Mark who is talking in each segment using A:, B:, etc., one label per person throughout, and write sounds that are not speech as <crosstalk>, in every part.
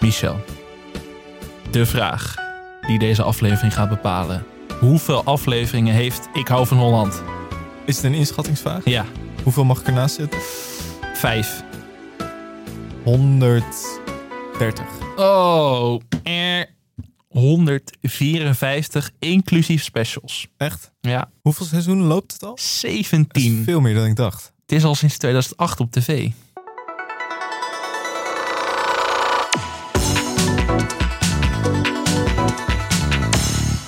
A: Michel. De vraag die deze aflevering gaat bepalen. Hoeveel afleveringen heeft Ik hou van Holland?
B: Is het een inschattingsvraag?
A: Ja,
B: Hoeveel mag ik ernaast zitten?
A: vijf.
B: 130.
A: Oh, er 154 inclusief specials.
B: Echt?
A: Ja,
B: Hoeveel seizoenen loopt het al? Dat is
A: 17.
B: veel meer dan ik dacht.
A: Het is al sinds 2008 op tv.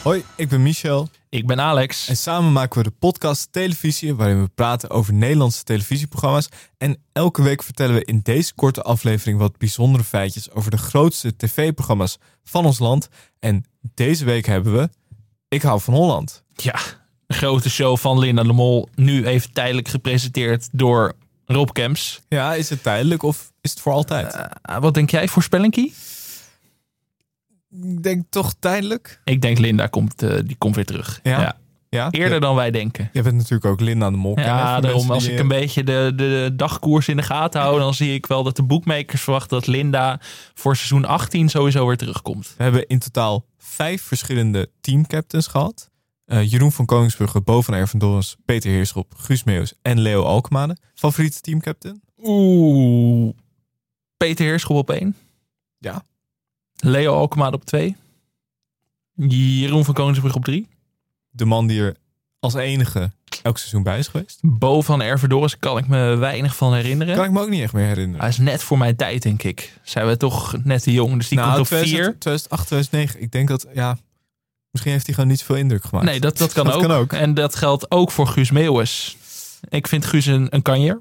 B: Hoi, ik ben Michel
A: Ik ben Alex.
B: en samen maken we de podcast Televisie, waarin we praten over Nederlandse televisieprogramma's. En elke week vertellen we in deze korte aflevering wat bijzondere feitjes over de grootste tv-programma's van ons land. En deze week hebben we Ik hou van Holland.
A: Ja, een grote show van Linda de Mol. Nu even tijdelijk gepresenteerd door Rob Kemps.
B: Ja, is het tijdelijk of is het voor altijd?
A: Eh, wat denk jij, voorspellinkie?
B: ik denk toch tijdelijk.
A: Ik denk Linda komt, eh, die komt weer terug.
B: Ja? Ja,
A: Eerder
B: Je,
A: dan wij denken.
B: je bent natuurlijk ook Linda aan de Mol. kennen, voor
A: Ja,
B: de
A: daarom
B: mensen
A: als
B: die,
A: ik
B: eh,
A: een beetje de, de dagkoers in de gaten hou... dan zie ik wel dat de boekmakers verwachten dat Linda voor seizoen 18 sowieso weer terugkomt.
B: We hebben in totaal vijf verschillende teamcaptains gehad. Eh, Jeroen van Koningsbrugge, Bo van Ervendorens, Peter Heerschop, Guus Meeuws en Leo Alkmanen. Favoriete teamcaptain?
A: Oeh. Peter Heerschop op 1.
B: Ja.
A: Leo Alkmaar op 2. Jeroen van Koningsbrug op 3.
B: De man die er als enige elk seizoen bij is geweest.
A: Bo van Ervedoris kan ik me weinig van herinneren.
B: Kan ik me ook niet echt meer herinneren.
A: Hij is net voor mijn tijd, denk ik. Zijn we toch net te jong, dus die
B: Nou,
A: komt op
B: 2000
A: vier.
B: 2008, 2009. Ik denk dat, ja, misschien heeft hij gewoon niet zoveel indruk gemaakt.
A: Nee, dat, dat, kan, ook.
B: Kan ook.
A: En dat geldt ook voor Guus Meeuwis. Ik vind Guus een, een kanjer.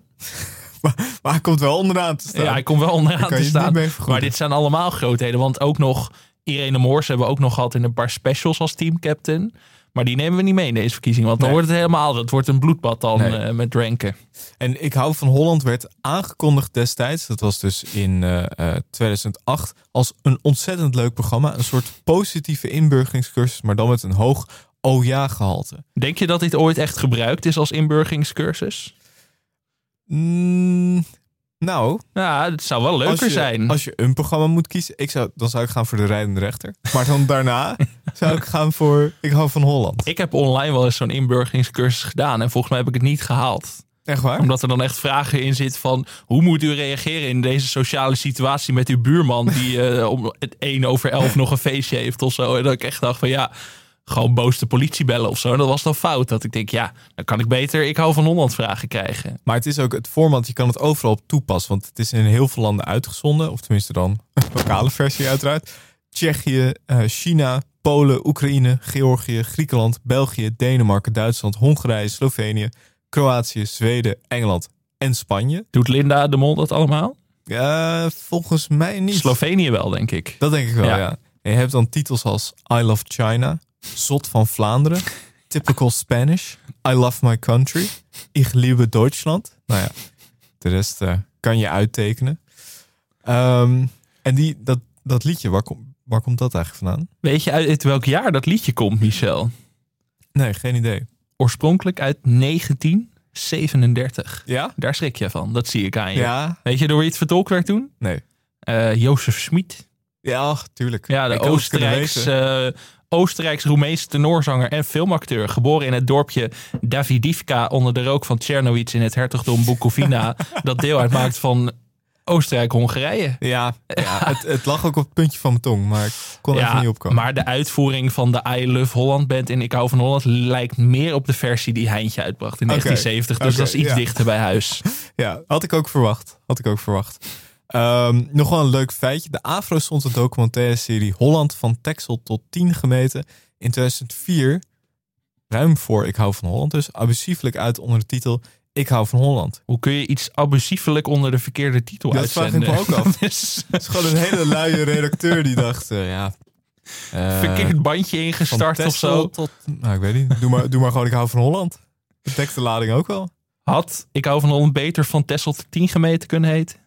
B: Maar hij komt wel onderaan te staan.
A: Ja, hij komt wel onderaan
B: kan
A: te
B: je het niet
A: staan.
B: mee
A: Maar
B: vergoeden.
A: dit zijn allemaal grootheden. Want ook nog Irene Moors hebben we ook nog gehad in een paar specials als teamcaptain. Maar die nemen we niet mee in deze verkiezing. Want dan
B: Nee.
A: wordt het helemaal... Het wordt een bloedbad dan
B: Nee.
A: eh, met ranken.
B: En Ik hou van Holland werd aangekondigd destijds, dat was dus in eh, eh, 2008, als een ontzettend leuk programma. Een soort positieve inburgeringscursus, maar dan met een hoog oh ja gehalte.
A: Denk je dat dit ooit echt gebruikt is als inburgingscursus?
B: Mm, nou,
A: Nou, het zou wel leuker
B: als je,
A: zijn.
B: Als je een programma moet kiezen, ik zou, dan zou ik gaan voor de rijdende rechter. Maar
A: <laughs>
B: dan daarna zou ik gaan voor Ik hou van Holland.
A: Ik heb online wel eens zo'n inburgingscursus gedaan. En volgens mij heb ik het niet gehaald.
B: Echt waar?
A: Omdat er dan echt vragen in zitten van... hoe moet u reageren in deze sociale situatie met uw buurman... die
B: <laughs>
A: eh, om het 1 over 11 nog een feestje heeft of zo. En dat ik echt dacht van ja... gewoon boos de politie bellen of zo. En dat was dan fout. Dat ik denk, ja, dan kan ik beter... ik hou van Holland vragen krijgen.
B: Maar het is ook het format, je kan het overal op toepassen. Want het is in heel veel landen uitgezonden. Of tenminste dan <laughs> een lokale versie uiteraard. Tsjechië, eh, China, Polen, Oekraïne, Georgië, Griekenland, België, Denemarken, Duitsland, Hongarije, Slovenië, Kroatië, Zweden, Engeland en Spanje.
A: Doet Linda de Mol dat allemaal?
B: Eh, volgens mij niet.
A: Slovenië wel, denk ik.
B: Dat denk ik wel,
A: Ja.
B: ja. En je hebt dan titels als I Love China, Zot van Vlaanderen, Typical Spanish, I Love My Country, Ich liebe Deutschland. Nou ja, de rest eh, kan je uittekenen. Ehm, en die, dat, dat liedje, waar, kom, waar komt dat eigenlijk vandaan?
A: Weet je uit welk jaar dat liedje komt, Michel?
B: Nee, geen idee.
A: Oorspronkelijk uit 1937.
B: Ja?
A: Daar schrik je van. Dat zie ik aan je.
B: Ja?
A: Weet je door wie het vertolkt werd toen?
B: Nee.
A: Eh, Jozef Schmid.
B: Ja, ach, tuurlijk.
A: Ja,
B: Ik
A: de
B: had het kunnen
A: Oostenrijks,
B: weten.
A: eh, Oostenrijks-Roemeense tenorzanger en filmacteur. Geboren in het dorpje Davidivka onder de rook van Tjernowitz in het hertogdom
B: <laughs>
A: Bukovina. dat deel uitmaakt van Oostenrijk-Hongarije.
B: Ja, ja het, het lag ook op het puntje van mijn tong, maar ik kon er even niet opkomen.
A: maar de uitvoering van de I Love Holland Band in Ik hou van Holland lijkt meer op de versie die Heintje uitbracht in
B: Oké,
A: 1970. Dus
B: oké,
A: dat is iets
B: ja.
A: dichter bij huis.
B: Ja, had ik ook verwacht. Had ik ook verwacht. Ehm, nog wel een leuk feitje. De Afro stond de documentaire serie Holland van Texel tot 10 gemeten. In 2004, ruim voor Ik hou van Holland dus, abusieflijk uit onder de titel Ik hou van Holland.
A: Hoe kun je iets abusiefelijk onder de verkeerde titel
B: Dat vraag ik
A: uitzenden?
B: me ook
A: <laughs>
B: af.
A: Dus-
B: Het is gewoon een hele luie redacteur die dacht, eh, ja... eh,
A: verkeerd bandje
B: van
A: ingestart of
B: Texel
A: zo.
B: Tot, nou, ik weet niet. Doe maar, doe maar gewoon Ik hou van Holland. Dat dekt de lading ook wel.
A: Had ik hou van Holland beter van Tessel tot 10 gemeten kunnen heten?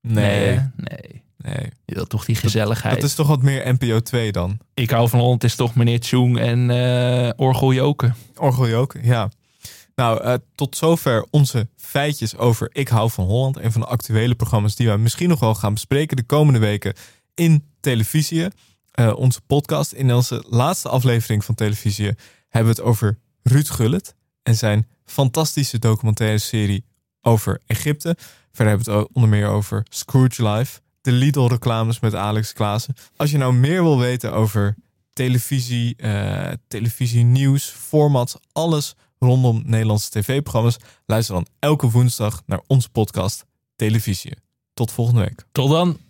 B: Nee.
A: hè? nee.
B: nee.
A: Je wilt toch die gezelligheid.
B: Dat is toch wat meer NPO 2 dan.
A: Ik hou van Holland is toch meneer Tjoeng en eh Orgel Joken.
B: Orgeljook, ja. Nou, eh, tot zover onze feitjes over Ik hou van Holland en van de actuele programma's die wij misschien nog wel gaan bespreken de komende weken in televisie. Eh, onze podcast. In onze laatste aflevering van televisie hebben we het over Ruud Gullit en zijn fantastische documentaire serie over Egypte. Verder hebben we het o- onder meer over Scrooge Live, de Lidl-reclames met Alex Klaassen. Als je nou meer wil weten over televisie, eh televisie nieuws, formats, alles rondom Nederlandse tv-programma's, luister dan elke woensdag naar onze podcast Televisie. Tot volgende week.
A: Tot dan.